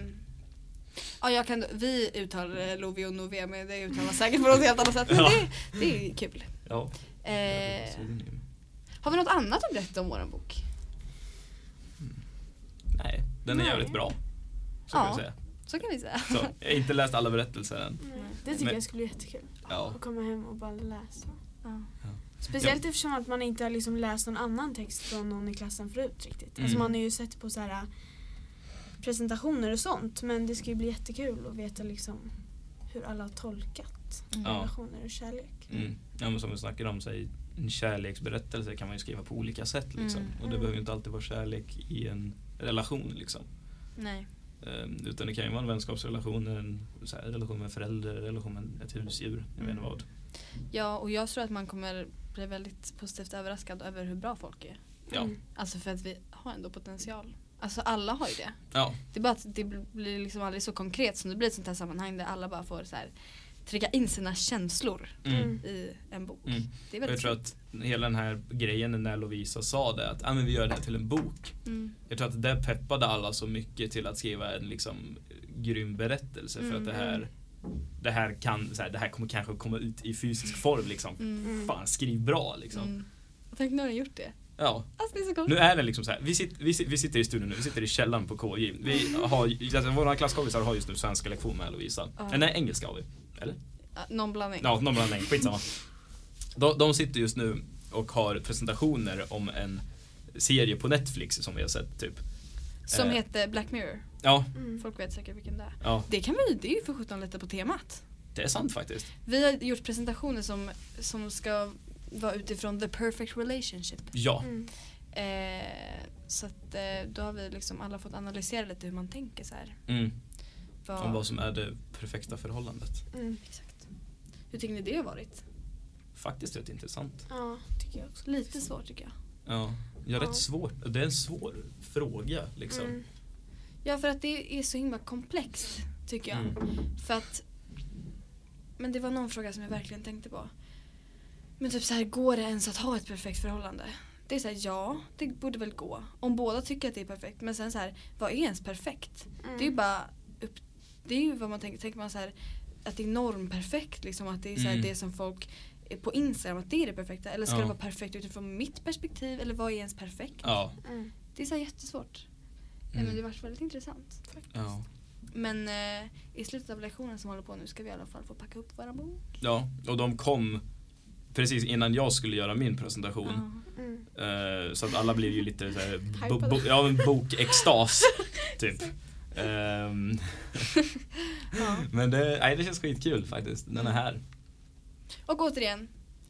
[SPEAKER 1] Ja, jag kan, vi uttalar Love och Nove men det uttalas säkert på något helt annat sätt. Men
[SPEAKER 2] Ja.
[SPEAKER 1] det, det är kul.
[SPEAKER 2] ja.
[SPEAKER 1] Eh, har vi något annat att berätta om våran bok?
[SPEAKER 2] Nej, den är
[SPEAKER 3] Nej.
[SPEAKER 2] jävligt bra. Så kan
[SPEAKER 1] Ja.
[SPEAKER 2] vi säga.
[SPEAKER 1] Så kan vi säga. [laughs]
[SPEAKER 2] Så, jag har inte läst alla berättelser än.
[SPEAKER 3] Nej, Mm. Det tycker
[SPEAKER 2] Men-
[SPEAKER 3] jag skulle vara jättekul.
[SPEAKER 2] Ja.
[SPEAKER 1] Mm.
[SPEAKER 3] Att komma hem och bara läsa.
[SPEAKER 1] Ja.
[SPEAKER 3] Speciellt eftersom att man inte har liksom läst någon annan text från någon i klassen förut riktigt.
[SPEAKER 2] Mm.
[SPEAKER 3] Alltså man har ju sett på så här äh, presentationer och sånt men det ska ju bli jättekul att veta liksom hur alla har tolkat
[SPEAKER 2] Ja.
[SPEAKER 3] relationer och kärlek.
[SPEAKER 2] Mm. Ja, men som vi snackade om, så här, en kärleksberättelse kan man ju skriva på olika sätt. Liksom.
[SPEAKER 1] Mm.
[SPEAKER 2] Och det behöver ju inte alltid vara kärlek i en relation. Liksom.
[SPEAKER 1] Nej.
[SPEAKER 2] Ehm, utan det kan ju vara en vänskapsrelation, en så här, relation med en förälder, en relation med ett husdjur. Jag vet inte vad.
[SPEAKER 1] Ja och jag tror att man kommer bli väldigt positivt överraskad över hur bra folk är.
[SPEAKER 2] Ja.
[SPEAKER 3] Mm.
[SPEAKER 1] Alltså för att vi har ändå potential. Alltså alla har ju det.
[SPEAKER 2] Ja.
[SPEAKER 1] Det är bara att det bl- blir liksom aldrig så konkret som det blir i ett sånt här sammanhang där alla bara får så här, trycka in sina känslor
[SPEAKER 2] Mm.
[SPEAKER 3] Mm.
[SPEAKER 1] i en bok.
[SPEAKER 2] Mm.
[SPEAKER 1] Det är
[SPEAKER 2] Och jag
[SPEAKER 1] väldigt
[SPEAKER 2] tror att hela den här grejen när Lovisa sa det, att ah, men vi gör det här till en bok.
[SPEAKER 1] Mm.
[SPEAKER 2] Jag tror att det peppade alla så mycket till att skriva en liksom grym berättelse för att det här det här, kan, så här, det här kommer kanske komma ut i fysisk form liksom.
[SPEAKER 1] Mm.
[SPEAKER 3] Mm.
[SPEAKER 2] Fan, skriv bra liksom.
[SPEAKER 1] Mm. Tänk nu har den gjort det.
[SPEAKER 2] Ja.
[SPEAKER 1] Alltså det är så coolt.
[SPEAKER 2] Nu är det liksom så här. Vi, sit, vi, sit, vi sitter i studion nu, vi sitter i källaren på KJ. Vi har, alltså, våra klasskompisar har just nu svenska lektion med Lovisa.
[SPEAKER 1] Ja.
[SPEAKER 2] Eh, Nej, engelska har vi. Eller?
[SPEAKER 1] Ja, någon blandning.
[SPEAKER 2] Ja, någon blandning. Skitsamma. De, de sitter just nu och har presentationer om en serie på Netflix som vi har sett typ.
[SPEAKER 1] Som
[SPEAKER 2] eh.
[SPEAKER 1] heter Black Mirror.
[SPEAKER 2] Ja,
[SPEAKER 3] Mm.
[SPEAKER 1] Folk vet säkert vilken det är.
[SPEAKER 2] ja.
[SPEAKER 1] Det kan vi, det är ju för sjutton lite på temat.
[SPEAKER 2] Det är sant faktiskt.
[SPEAKER 1] Vi har gjort presentationer som, som ska vara utifrån the perfect relationship.
[SPEAKER 2] Ja.
[SPEAKER 3] Mm.
[SPEAKER 1] Eh, så att eh, då har vi liksom alla fått analysera lite hur man tänker så här.
[SPEAKER 2] Mm.
[SPEAKER 1] Vad,
[SPEAKER 2] Om vad som är det perfekta förhållandet.
[SPEAKER 3] Mm.
[SPEAKER 1] exakt. Hur tycker ni det har varit?
[SPEAKER 2] Faktiskt rätt intressant.
[SPEAKER 3] Ja, tycker jag också.
[SPEAKER 1] Lite svårt tycker jag.
[SPEAKER 2] Ja, ja,
[SPEAKER 3] Ja.
[SPEAKER 2] rätt svårt. Det är en svår fråga liksom.
[SPEAKER 3] Mm.
[SPEAKER 1] Ja, för att det är så himla komplext tycker jag.
[SPEAKER 2] Mm.
[SPEAKER 1] För att, men det var någon fråga som jag verkligen tänkte på. Men typ så här, går det ens att ha ett perfekt förhållande? Det är så här, ja, det borde väl gå. Om båda tycker att det är perfekt. Men sen så här, vad är ens perfekt?
[SPEAKER 3] Mm.
[SPEAKER 1] Det är ju bara upp, det är ju vad man tänker. Tänker man så här att det är normperfekt liksom att det är så här
[SPEAKER 2] Mm.
[SPEAKER 1] det som folk är på Instagram att det är det perfekta eller ska
[SPEAKER 2] Ja.
[SPEAKER 1] det vara perfekt utifrån mitt perspektiv eller vad är ens perfekt?
[SPEAKER 2] Ja.
[SPEAKER 3] Mm.
[SPEAKER 1] Det är så här jättesvårt. Nej,
[SPEAKER 2] Mm.
[SPEAKER 1] men det var väldigt intressant.
[SPEAKER 2] Ja.
[SPEAKER 1] Men eh, i slutet av lektionen som håller på nu ska vi i alla fall få packa upp våra bok.
[SPEAKER 2] ja, och de kom precis innan jag skulle göra min presentation.
[SPEAKER 3] Mm.
[SPEAKER 2] Eh, så att alla blev ju lite såhär, bo,
[SPEAKER 3] Hypade.
[SPEAKER 2] bo, ja, men
[SPEAKER 1] [laughs]
[SPEAKER 2] bokextas typ. Ehm,
[SPEAKER 1] Ja.
[SPEAKER 2] men det, nej, det känns skitkul faktiskt. Den är här.
[SPEAKER 1] Och återigen,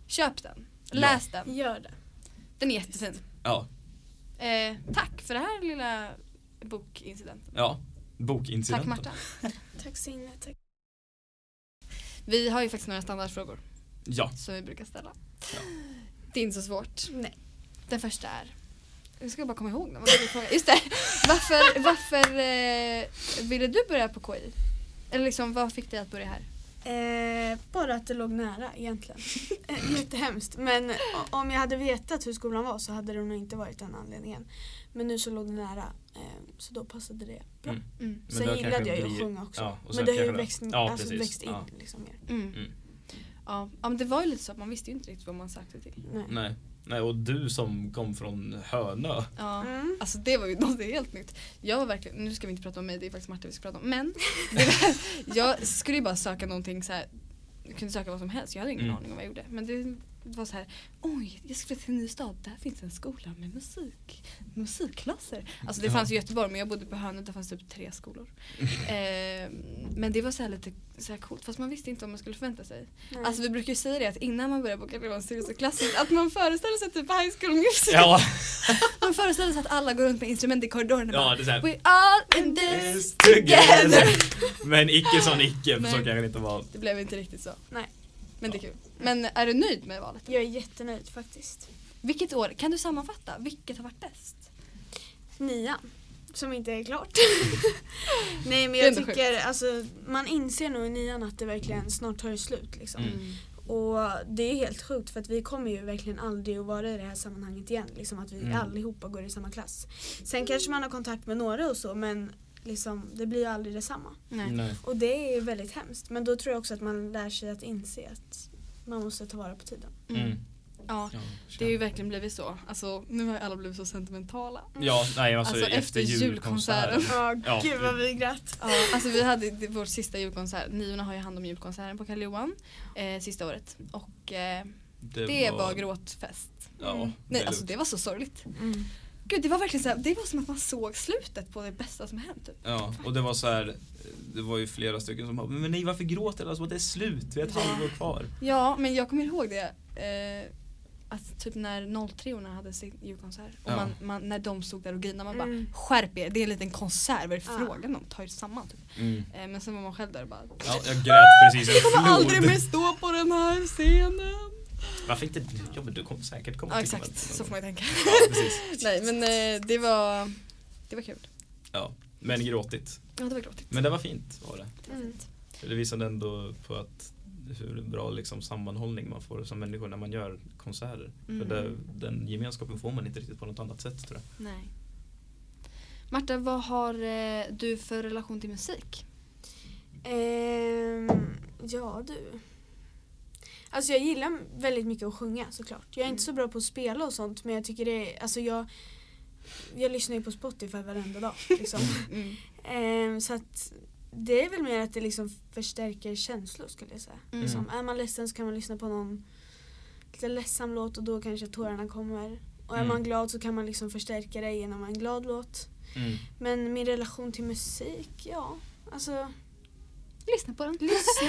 [SPEAKER 1] köp den.
[SPEAKER 2] Ja.
[SPEAKER 1] Läs den.
[SPEAKER 3] Gör det.
[SPEAKER 1] Den är jättefin.
[SPEAKER 2] Ja,
[SPEAKER 1] Eh, tack för det här lilla bokincidenten.
[SPEAKER 2] ja. Bokincidenten.
[SPEAKER 1] Tack Marta.
[SPEAKER 3] Tack Signe. Tack.
[SPEAKER 1] Vi har ju faktiskt några standardfrågor
[SPEAKER 2] Ja.
[SPEAKER 1] som vi brukar ställa.
[SPEAKER 2] Ja.
[SPEAKER 1] Det är inte så svårt.
[SPEAKER 3] Nej.
[SPEAKER 1] Den första är jag ska bara komma ihåg den. Vad var det frågan? Just det. Varför, varför eh, ville du börja på KI? Eller liksom, vad fick dig att börja här?
[SPEAKER 3] Eh, bara att det låg nära egentligen.
[SPEAKER 2] [laughs]
[SPEAKER 3] Eh, Jättehemskt. Men o- om jag hade vetat hur skolan var så hade det nog inte varit den anledningen. Men nu så låg det nära eh, så då passade det bra.
[SPEAKER 2] Mm.
[SPEAKER 1] Mm.
[SPEAKER 2] Men det
[SPEAKER 3] Sen
[SPEAKER 2] har
[SPEAKER 3] gillade
[SPEAKER 2] kanske
[SPEAKER 3] jag ju att
[SPEAKER 2] blivit-
[SPEAKER 3] sjunga också.
[SPEAKER 2] ja, och sen
[SPEAKER 3] men det har ju
[SPEAKER 2] kanske det-
[SPEAKER 3] växt, in-
[SPEAKER 2] ja,
[SPEAKER 3] alltså,
[SPEAKER 2] precis,
[SPEAKER 3] växt in
[SPEAKER 2] ja.
[SPEAKER 3] liksom mer.
[SPEAKER 1] Mm.
[SPEAKER 2] Mm.
[SPEAKER 1] Ja. ja, men det var ju lite så att man visste ju inte riktigt vad man sökte till.
[SPEAKER 3] Nej.
[SPEAKER 2] Nej. nej, och du som kom från Hönö.
[SPEAKER 1] Ja.
[SPEAKER 3] Mm.
[SPEAKER 1] Alltså det var ju [laughs] något helt nytt. Jag var verkligen, nu ska vi inte prata om mig, det är faktiskt Marta vi ska prata om. Men jag skulle ju bara söka någonting så här. jag kunde söka vad som helst, jag hade ingen
[SPEAKER 2] Mm.
[SPEAKER 1] aning om vad jag gjorde. Men det var så här, oj jag ska flytta till en ny stad, där finns en skola med musik, musikklasser. Alltså det
[SPEAKER 2] Ja.
[SPEAKER 1] fanns i Göteborg men jag bodde på Hönö, där fanns typ tre skolor. eh, men det var så här lite så här coolt, fast man visste inte vad man skulle förvänta sig.
[SPEAKER 3] Nej.
[SPEAKER 1] Alltså vi brukar ju säga det att innan man börjar boka gymnasium så klassiskt att man föreställer sig typ High School Musical.
[SPEAKER 2] [laughs] Ja,
[SPEAKER 1] [laughs] Man föreställer sig att alla går runt med instrument i korridoren och
[SPEAKER 2] ja
[SPEAKER 1] bara
[SPEAKER 2] det är såhär.
[SPEAKER 1] We all in this
[SPEAKER 2] Is
[SPEAKER 1] together.
[SPEAKER 2] together. Men icke som icke, för så
[SPEAKER 1] Nej.
[SPEAKER 2] kan det inte vara.
[SPEAKER 1] Det blev inte riktigt så.
[SPEAKER 3] Nej.
[SPEAKER 1] Men det är kul. Men är du nöjd med valet?
[SPEAKER 3] Jag är jättenöjd faktiskt.
[SPEAKER 1] Vilket år, kan du sammanfatta, vilket har varit bäst?
[SPEAKER 3] Nian. Som inte är klart. [laughs] Nej men
[SPEAKER 1] Det är
[SPEAKER 3] jag
[SPEAKER 1] ändå
[SPEAKER 3] tycker alltså man inser nog i nian att det verkligen snart tar ju slut liksom.
[SPEAKER 2] Mm.
[SPEAKER 3] Och det är helt sjukt för att vi kommer ju verkligen aldrig att vara i det här sammanhanget igen. Liksom att vi
[SPEAKER 2] Mm.
[SPEAKER 3] allihopa går i samma klass. Sen kanske man har kontakt med några och så men liksom, det blir ju aldrig detsamma.
[SPEAKER 1] Nej.
[SPEAKER 2] Nej.
[SPEAKER 3] Och det är ju väldigt hemskt. Men då tror jag också att man lär sig att inse att man måste ta vara på tiden.
[SPEAKER 2] Mm.
[SPEAKER 1] Ja.
[SPEAKER 2] Ja,
[SPEAKER 1] Det har ju verkligen blivit så. Alltså nu har ju alla blivit så sentimentala.
[SPEAKER 2] Ja, nej alltså,
[SPEAKER 1] Alltså,
[SPEAKER 2] efter,
[SPEAKER 1] efter
[SPEAKER 2] julkonserten.
[SPEAKER 1] julkonserten.
[SPEAKER 3] [laughs] Ja,
[SPEAKER 2] Ja, gud, vad
[SPEAKER 3] vi grät.
[SPEAKER 1] Ja, alltså vi hade det- vår sista julkonsert, Niorna har ju hand om julkonserten på Karl Johan eh, sista året. Och eh,
[SPEAKER 2] Det,
[SPEAKER 1] det var gråtfest.
[SPEAKER 2] Ja,
[SPEAKER 3] Mm.
[SPEAKER 1] Nej
[SPEAKER 2] det-
[SPEAKER 1] alltså det var så sorgligt.
[SPEAKER 3] Mm.
[SPEAKER 1] Gud det var verkligen så här, det var som att man såg slutet på det bästa som hänt. Typ.
[SPEAKER 2] Ja, och det var så här. Det var ju flera stycken som bara, men nej varför gråter alla? Alltså, det är slut, vi har ett
[SPEAKER 1] Ja.
[SPEAKER 2] halvår kvar.
[SPEAKER 1] Ja, men jag kommer ihåg det. Eh, att typ när 03 orna hade sin julkonsert och
[SPEAKER 2] Ja.
[SPEAKER 1] man, man, när de stod där och grinade man bara
[SPEAKER 3] Mm.
[SPEAKER 1] skärp er, det är en liten konsert, vad är det
[SPEAKER 3] Ja.
[SPEAKER 1] frågan om? Ta er samman typ.
[SPEAKER 2] Mm.
[SPEAKER 1] Eh, men sen var man själv där och bara
[SPEAKER 2] Ja, jag grät precis
[SPEAKER 1] Jag kommer
[SPEAKER 2] en
[SPEAKER 1] aldrig
[SPEAKER 2] flod.
[SPEAKER 1] mer stå på den här scenen.
[SPEAKER 2] [laughs] Varför inte du? Ja men du kommer säkert komma
[SPEAKER 1] Ja
[SPEAKER 2] till
[SPEAKER 1] exakt,
[SPEAKER 2] konventet.
[SPEAKER 1] så får man ju tänka.
[SPEAKER 2] Ja, precis.
[SPEAKER 1] Nej men eh, det var, det var kul.
[SPEAKER 2] Ja, men gråtigt.
[SPEAKER 1] Ja det var gråtigt.
[SPEAKER 2] Men det var fint var det.
[SPEAKER 1] Det var
[SPEAKER 3] Mm.
[SPEAKER 1] fint.
[SPEAKER 2] För Det visade ändå på att hur bra liksom sammanhållning man får som människor när man gör konserter.
[SPEAKER 1] Mm.
[SPEAKER 2] För det, den gemenskapen får man inte riktigt på något annat sätt tror jag.
[SPEAKER 1] Nej. Marta, vad har eh, du för relation till musik?
[SPEAKER 3] Ehm, ja du. Alltså jag gillar väldigt mycket att sjunga såklart. Jag är inte så bra på att spela och sånt men jag tycker det är, alltså jag, jag lyssnar ju på Spotify varenda dag. Liksom.
[SPEAKER 1] Mm.
[SPEAKER 3] Ehm, så att det är väl mer att det liksom förstärker känslor skulle jag säga.
[SPEAKER 1] Mm.
[SPEAKER 3] Liksom, är man ledsen så kan man lyssna på någon lite ledsam låt och då kanske tårarna kommer. Och är
[SPEAKER 2] Mm.
[SPEAKER 3] man glad så kan man liksom förstärka det genom en glad låt.
[SPEAKER 2] Mm.
[SPEAKER 3] Men min relation till musik, ja. Alltså
[SPEAKER 1] Lyssna på den.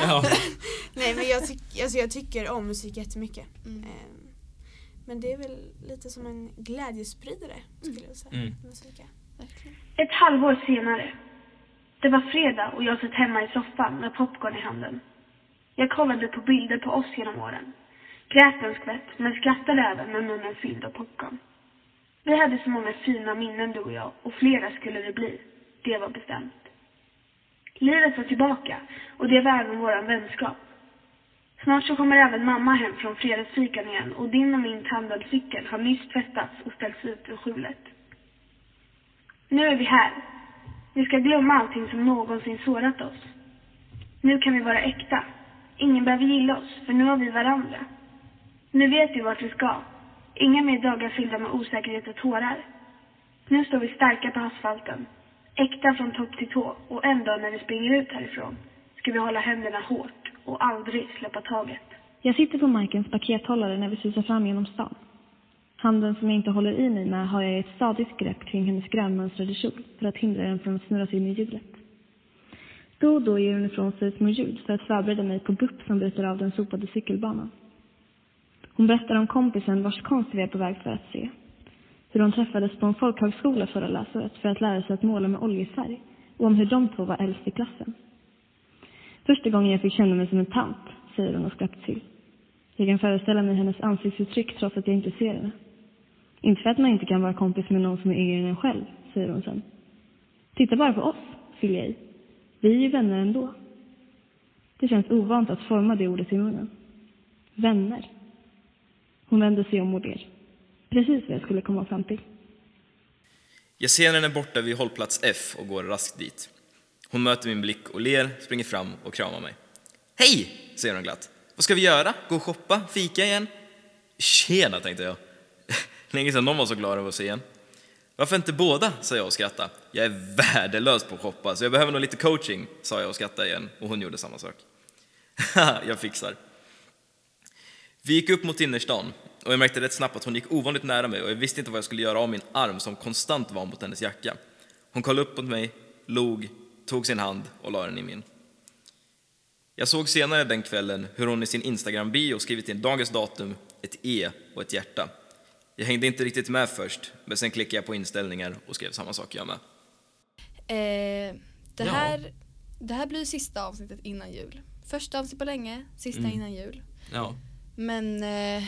[SPEAKER 2] Ja.
[SPEAKER 3] [laughs] Nej men jag, tyck, alltså jag tycker om musik jättemycket.
[SPEAKER 1] Mm.
[SPEAKER 3] Ehm, Men det är väl lite som en glädjespridare skulle jag säga.
[SPEAKER 2] Mm.
[SPEAKER 3] Musik. är.
[SPEAKER 1] [laughs] Verkligen.
[SPEAKER 4] Ett halvår senare. Det var fredag och jag satt hemma i soffan med popcorn i handen. Jag kollade på bilder på oss genom åren. Grät en skvätt, men skrattade även med munnen fylld av popcorn. Vi hade så många fina minnen du och jag, och flera skulle det bli. Det var bestämt. Livet var tillbaka, och det var även vår vänskap. Snart så kommer även mamma hem från fredagsfikan igen och din och min tandade cykel har nyss tvättats och ställts ut ur skjulet. Nu är vi här. Vi ska glömma allting som någonsin sårat oss. Nu kan vi vara äkta. Ingen behöver gilla oss, för nu har vi varandra. Nu vet vi vart vi ska. Inga mer dagar fyllda med osäkerhet och tårar. Nu står vi starka på asfalten. Äkta från topp till tå och en dag när vi springer ut härifrån ska vi hålla händerna hårt och aldrig släppa taget.
[SPEAKER 5] Jag sitter på Majkens pakethållare när vi susar fram genom stan. Handen som jag inte håller i mig med har jag i ett stadigt grepp kring hennes grönmönstrade kjol för att hindra den från att snurras in i hjulet. Då och då ger hon ifrån sig små ljud för att förbereda mig på gupp som bryter av den sopade cykelbanan. Hon berättar om kompisen vars konst vi är på väg för att se. Hur de träffades på en folkhögskola förra läsåret för att lära sig att måla med oljefärg och om hur de två var äldst i klassen. Första gången jag fick känna mig som en tant, säger hon och skrattar till. Jag kan föreställa mig hennes ansiktsuttryck trots att jag inte ser henne. Inte för att man inte kan vara kompis med någon som är yngre än en själv, säger hon sen. Titta bara på oss, fyller jag i. Vi är ju vänner ändå. Det känns ovant att forma det ordet i munnen. Vänner. Hon vänder sig om och ler. Precis vad jag skulle komma fram till.
[SPEAKER 6] Jag ser henne borta vid hållplats F och går raskt dit. Hon möter min blick och ler, springer fram och kramar mig. Hej! säger hon glatt. Vad ska vi göra? Gå och shoppa? Fika igen? Tjena, tänkte jag. [laughs] Länge sedan någon var så glad över att se en. Varför inte båda? sa jag och skrattade. Jag är värdelös på att shoppa, så jag behöver nog lite coaching, sa jag och skrattade igen och hon gjorde samma sak. [laughs] Haha, jag fixar. Vi gick upp mot innerstan och jag märkte rätt snabbt att hon gick ovanligt nära mig och jag visste inte vad jag skulle göra av min arm som konstant var mot hennes jacka. Hon kollade upp mot mig, log, tog sin hand och la den i min. Jag såg senare den kvällen hur hon i sin Instagram-bio skrivit in dagens datum, ett E och ett hjärta. Jag hängde inte riktigt med först, men sen klickade jag på inställningar och skrev samma sak jag med.
[SPEAKER 1] Eh, det,
[SPEAKER 2] Ja.
[SPEAKER 1] här, det här blir sista avsnittet innan jul. Första avsnittet på länge, sista
[SPEAKER 2] Mm.
[SPEAKER 1] innan jul.
[SPEAKER 2] Ja,
[SPEAKER 1] Men eh,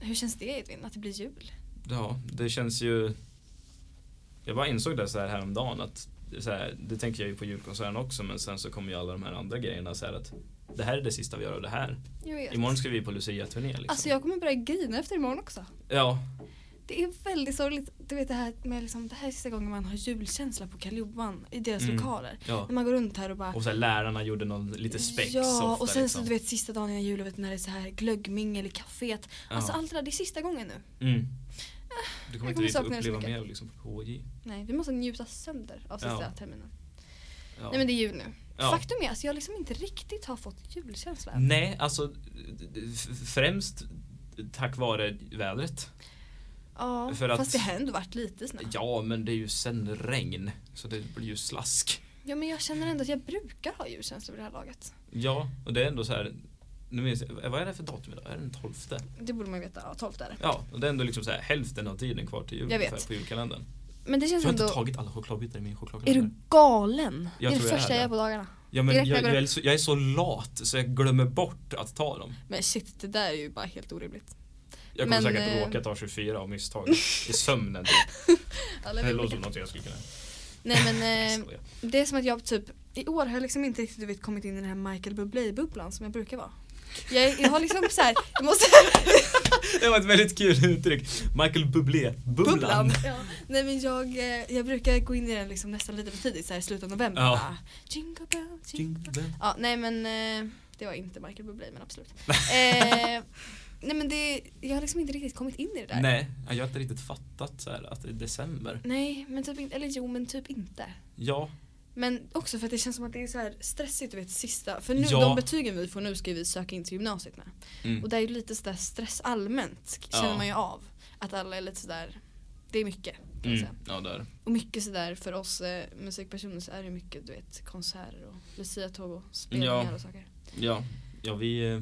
[SPEAKER 1] hur känns det Edvin, att det blir jul?
[SPEAKER 2] ja, det känns ju... Jag bara insåg det så här häromdagen att det är så här, det tänker jag ju på julkonserten också men sen så kommer ju alla de här andra grejerna så här att det här är det sista vi gör av det här.
[SPEAKER 1] Jag vet.
[SPEAKER 2] Imorgon ska vi på Lucia-turné liksom.
[SPEAKER 1] Alltså jag kommer börja grina efter imorgon också.
[SPEAKER 2] Ja,
[SPEAKER 1] Det är väldigt sorgligt. Du vet det här med liksom, det här är sista gången man har julkänsla på Karl Johan i deras
[SPEAKER 2] Mm.
[SPEAKER 1] lokaler.
[SPEAKER 2] ja.
[SPEAKER 1] När man går runt här och bara
[SPEAKER 2] Och så här, lärarna gjorde någon lite spex
[SPEAKER 1] Ja,
[SPEAKER 2] ofta,
[SPEAKER 1] och sen
[SPEAKER 2] liksom.
[SPEAKER 1] så du vet sista dagen innan jullovet när det är så här glöggmingel i kaféet. Alltså
[SPEAKER 2] Ja.
[SPEAKER 1] allt det där, det är sista gången nu.
[SPEAKER 2] Mm. Du kommer
[SPEAKER 1] Ah, jag
[SPEAKER 2] inte
[SPEAKER 1] kommer
[SPEAKER 2] riktigt
[SPEAKER 1] sakna det så
[SPEAKER 2] uppleva
[SPEAKER 1] mycket.
[SPEAKER 2] mer liksom, på KJ.
[SPEAKER 1] Nej, vi måste njuta sönder av sista
[SPEAKER 2] Ja.
[SPEAKER 1] terminen.
[SPEAKER 2] Ja.
[SPEAKER 1] Nej men det är jul nu.
[SPEAKER 2] Ja.
[SPEAKER 1] Faktum är att jag liksom inte riktigt har fått julkänsla. än.
[SPEAKER 2] Nej, alltså f- främst tack vare vädret.
[SPEAKER 1] Ja,
[SPEAKER 2] För att-
[SPEAKER 1] fast det har ändå varit lite snö.
[SPEAKER 2] Ja, men det är ju sen regn, så det blir ju slask.
[SPEAKER 1] Ja men jag känner ändå att jag brukar ha julkänsla vid det här laget.
[SPEAKER 2] Ja, och det är ändå så här. Nu minns jag, vad är det för datum idag? Är det den 12?
[SPEAKER 1] Det borde man ju veta, ja 12 är det.
[SPEAKER 2] Ja, och det är ändå liksom så här, hälften av tiden kvar till jul
[SPEAKER 1] Jag vet.
[SPEAKER 2] ungefär, på julkalendern.
[SPEAKER 1] Men det
[SPEAKER 2] Jag
[SPEAKER 1] känns
[SPEAKER 2] har inte
[SPEAKER 1] ändå...
[SPEAKER 2] tagit alla chokladbitar i min
[SPEAKER 1] Är
[SPEAKER 2] chokladkalender.
[SPEAKER 1] du galen?
[SPEAKER 2] Jag
[SPEAKER 1] det är
[SPEAKER 2] tror
[SPEAKER 1] det
[SPEAKER 2] jag är
[SPEAKER 1] första jag
[SPEAKER 2] det.
[SPEAKER 1] gör på dagarna.
[SPEAKER 2] Ja, men jag,
[SPEAKER 1] direkt när jag går upp?
[SPEAKER 2] jag, är så, jag är så lat så jag glömmer bort att ta dem.
[SPEAKER 1] Men shit, det där är ju bara helt orimligt.
[SPEAKER 2] Jag kommer
[SPEAKER 1] Men,
[SPEAKER 2] säkert
[SPEAKER 1] eh,
[SPEAKER 2] råka ta 24 av
[SPEAKER 1] [laughs]
[SPEAKER 2] misstag i sömnen. Typ.
[SPEAKER 1] Alla
[SPEAKER 2] Det
[SPEAKER 1] vill-
[SPEAKER 2] låter som något jag skulle kunna...
[SPEAKER 1] Nej men eh,
[SPEAKER 2] Skoja.
[SPEAKER 1] det är som att jag typ i år har jag liksom inte riktigt du vet, kommit in i den här Michael Bublé-bubblan som jag brukar vara. Jag, jag har liksom så här, jag måste...
[SPEAKER 2] Det var ett väldigt kul uttryck. Michael Bublé, bubblan.
[SPEAKER 1] Ja. Nej men jag, eh, jag brukar gå in i den liksom nästan lite för tidigt, så här i slutet av november.
[SPEAKER 2] Ja.
[SPEAKER 1] Bara, jingle bell, jingle
[SPEAKER 2] Jingle
[SPEAKER 1] bell.
[SPEAKER 2] bell.
[SPEAKER 1] Ja, nej men eh, det var inte Michael Bublé men
[SPEAKER 2] [laughs]
[SPEAKER 1] absolut. eh, nej men det, jag har liksom inte riktigt kommit in i det där.
[SPEAKER 2] Nej, jag har inte riktigt fattat så här, att det är december.
[SPEAKER 1] Nej, men typ inte, eller jo men typ inte.
[SPEAKER 2] Ja,
[SPEAKER 1] Men också för att det känns som att det är så här stressigt du vet sista, för nu
[SPEAKER 2] Ja.
[SPEAKER 1] de betygen vi får nu ska vi söka in till gymnasiet med.
[SPEAKER 2] Mm.
[SPEAKER 1] Och det är ju lite sådär stress allmänt k-
[SPEAKER 2] Ja.
[SPEAKER 1] känner man ju av. Att alla är lite sådär, det är mycket. Kan man
[SPEAKER 2] mm.
[SPEAKER 1] säga.
[SPEAKER 2] ja där.
[SPEAKER 1] Och mycket sådär för oss eh, musikpersoner så är det mycket du vet konserter och luciatåg och spelningar
[SPEAKER 2] Ja.
[SPEAKER 1] och saker. [laughs]
[SPEAKER 2] Ja, ja vi, eh,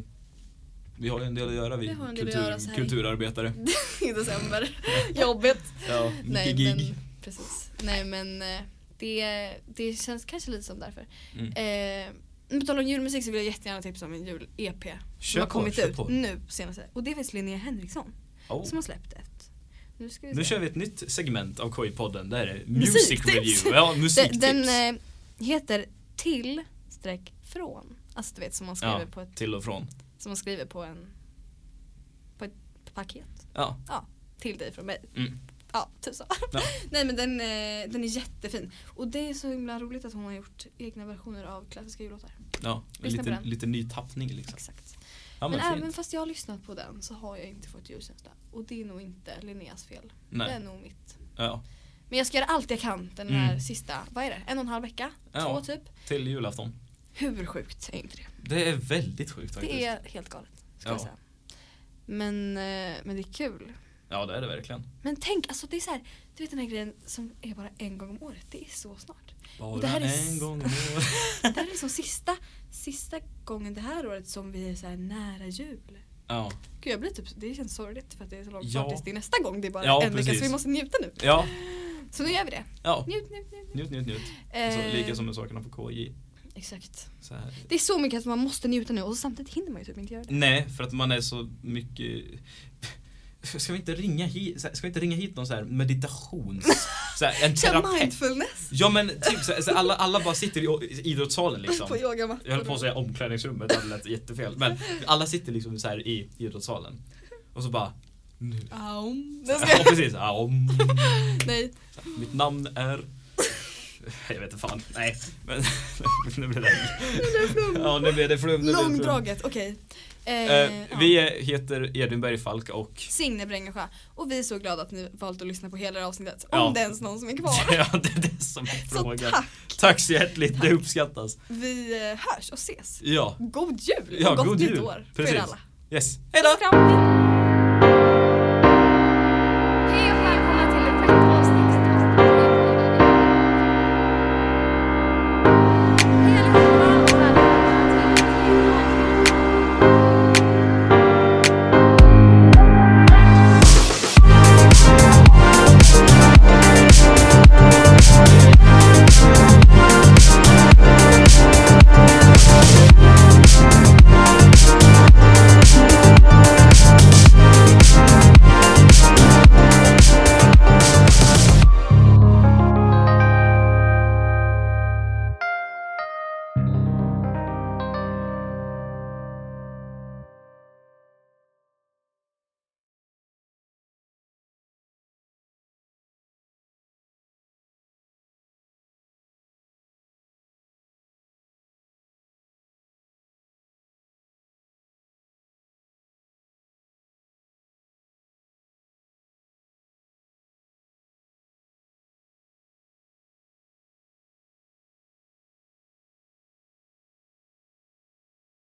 [SPEAKER 2] vi har ju en del att göra vi,
[SPEAKER 1] Vi har en del att
[SPEAKER 2] kultur,
[SPEAKER 1] göra så här i-
[SPEAKER 2] kulturarbetare.
[SPEAKER 1] I december, [laughs] jobbigt.
[SPEAKER 2] Ja,
[SPEAKER 1] Nej
[SPEAKER 2] gig.
[SPEAKER 1] men precis. Nej men eh, Det, det känns kanske lite som därför.
[SPEAKER 2] Mm.
[SPEAKER 1] Eh, men på tal om julmusik så vill jag jättegärna tipsa om en jul-EP
[SPEAKER 2] Kör
[SPEAKER 1] som har
[SPEAKER 2] på,
[SPEAKER 1] kommit
[SPEAKER 2] kör
[SPEAKER 1] ut
[SPEAKER 2] på.
[SPEAKER 1] nu på senaste. Och det är faktiskt Linnea Henriksson
[SPEAKER 2] Oh.
[SPEAKER 1] som har släppt ett. Nu ska vi
[SPEAKER 2] Nu
[SPEAKER 1] se.
[SPEAKER 2] kör vi ett nytt segment av KI-podden. Där är det music
[SPEAKER 1] Musiktips.
[SPEAKER 2] review. Ja, musiktips.
[SPEAKER 1] Den, den eh, heter Till streck från. Alltså du vet som man skriver,
[SPEAKER 2] ja,
[SPEAKER 1] på, ett,
[SPEAKER 2] till och från.
[SPEAKER 1] som man skriver på en på ett paket.
[SPEAKER 2] Ja.
[SPEAKER 1] Ja, till dig från mig.
[SPEAKER 2] Mm.
[SPEAKER 1] Ja, typ så.
[SPEAKER 2] Ja.
[SPEAKER 1] [laughs] Nej men den, eh, den är jättefin. Och det är så himla roligt att hon har gjort egna versioner av klassiska jullåtar.
[SPEAKER 2] Ja,
[SPEAKER 1] Lyssna på
[SPEAKER 2] lite,
[SPEAKER 1] den.
[SPEAKER 2] lite ny tappning liksom.
[SPEAKER 1] Exakt.
[SPEAKER 2] Ja,
[SPEAKER 1] men
[SPEAKER 2] men
[SPEAKER 1] även
[SPEAKER 2] fint.
[SPEAKER 1] fast jag har lyssnat på den så har jag inte fått julkänsla. Och det är nog inte Linneas fel. Det är
[SPEAKER 2] Nej.
[SPEAKER 1] nog mitt.
[SPEAKER 2] Ja,
[SPEAKER 1] Men jag ska göra allt jag kan den här
[SPEAKER 2] Mm.
[SPEAKER 1] sista, vad är det? En och en halv vecka?
[SPEAKER 2] Ja.
[SPEAKER 1] Två typ.
[SPEAKER 2] till julafton.
[SPEAKER 1] Hur sjukt är inte det?
[SPEAKER 2] Det är väldigt sjukt faktiskt.
[SPEAKER 1] Det är helt galet. Ska jag
[SPEAKER 2] Ja.
[SPEAKER 1] säga. Men, eh, men det är kul.
[SPEAKER 2] Ja, det är det verkligen.
[SPEAKER 1] Men tänk, alltså det är så här, du vet den här grejen som är bara en gång om året. Det är så snart.
[SPEAKER 2] Bara
[SPEAKER 1] det här är s-
[SPEAKER 2] en
[SPEAKER 1] [laughs]
[SPEAKER 2] gång om året.
[SPEAKER 1] Det här är liksom sista, sista gången det här året som vi är så här nära jul.
[SPEAKER 2] Ja.
[SPEAKER 1] Gud jag blir typ, det känns sorgligt för att det är så långt
[SPEAKER 2] Ja.
[SPEAKER 1] kvar tills det är nästa gång. Det är bara
[SPEAKER 2] Ja,
[SPEAKER 1] en vecka så
[SPEAKER 2] precis.
[SPEAKER 1] vi måste njuta nu.
[SPEAKER 2] Ja.
[SPEAKER 1] Så nu gör vi det.
[SPEAKER 2] ja.
[SPEAKER 1] Njut, njut, njut.
[SPEAKER 2] Njut, njut, njut. Så,
[SPEAKER 1] Eh,
[SPEAKER 2] lika som med sakerna på KJ.
[SPEAKER 1] Exakt.
[SPEAKER 2] Så här.
[SPEAKER 1] Det är så mycket att man måste njuta nu och samtidigt hinner man ju typ inte göra det.
[SPEAKER 2] Nej, för att man är så mycket... [laughs] Ska vi inte ringa hit, så här- ska vi inte ringa hit någon så här meditations... Så här, [laughs] en
[SPEAKER 1] Kör
[SPEAKER 2] terapeut?
[SPEAKER 1] mindfulness
[SPEAKER 2] Ja men typ så här, så här, alla, alla bara sitter i o- i idrottssalen liksom.
[SPEAKER 1] på
[SPEAKER 2] Jag höll på att
[SPEAKER 1] yogamattan.
[SPEAKER 2] säga omklädningsrummet, det hade lät jättefel. Men alla sitter liksom så här i idrottssalen. Och så bara... Nu.
[SPEAKER 1] Aum.
[SPEAKER 2] [laughs] Ja precis, Ja, om.
[SPEAKER 1] Nej,
[SPEAKER 2] Mitt namn är... Jag vet inte fan, nej. Men [laughs] nu blir det... Ja nu blir det flum. nu blir det flum.
[SPEAKER 1] Långdraget, okej.
[SPEAKER 2] Eh,
[SPEAKER 1] ja.
[SPEAKER 2] vi är- heter Edvin Bergfalk och...
[SPEAKER 1] Signe Brängesjö. Och vi är så glada att ni valt att lyssna på hela det här avsnittet.
[SPEAKER 2] Ja.
[SPEAKER 1] Om det ens någon som är kvar.
[SPEAKER 2] [laughs] Ja, det är det som är
[SPEAKER 1] Så
[SPEAKER 2] frågan.
[SPEAKER 1] tack!
[SPEAKER 2] Tack så hjärtligt, det uppskattas.
[SPEAKER 1] Vi eh, hörs och ses.
[SPEAKER 2] Ja,
[SPEAKER 1] God jul
[SPEAKER 2] Ja,
[SPEAKER 1] och gott
[SPEAKER 2] god
[SPEAKER 1] nytt
[SPEAKER 2] jul.
[SPEAKER 1] år för
[SPEAKER 2] Precis.
[SPEAKER 1] er alla.
[SPEAKER 2] yes.
[SPEAKER 1] Hejdå! Kram.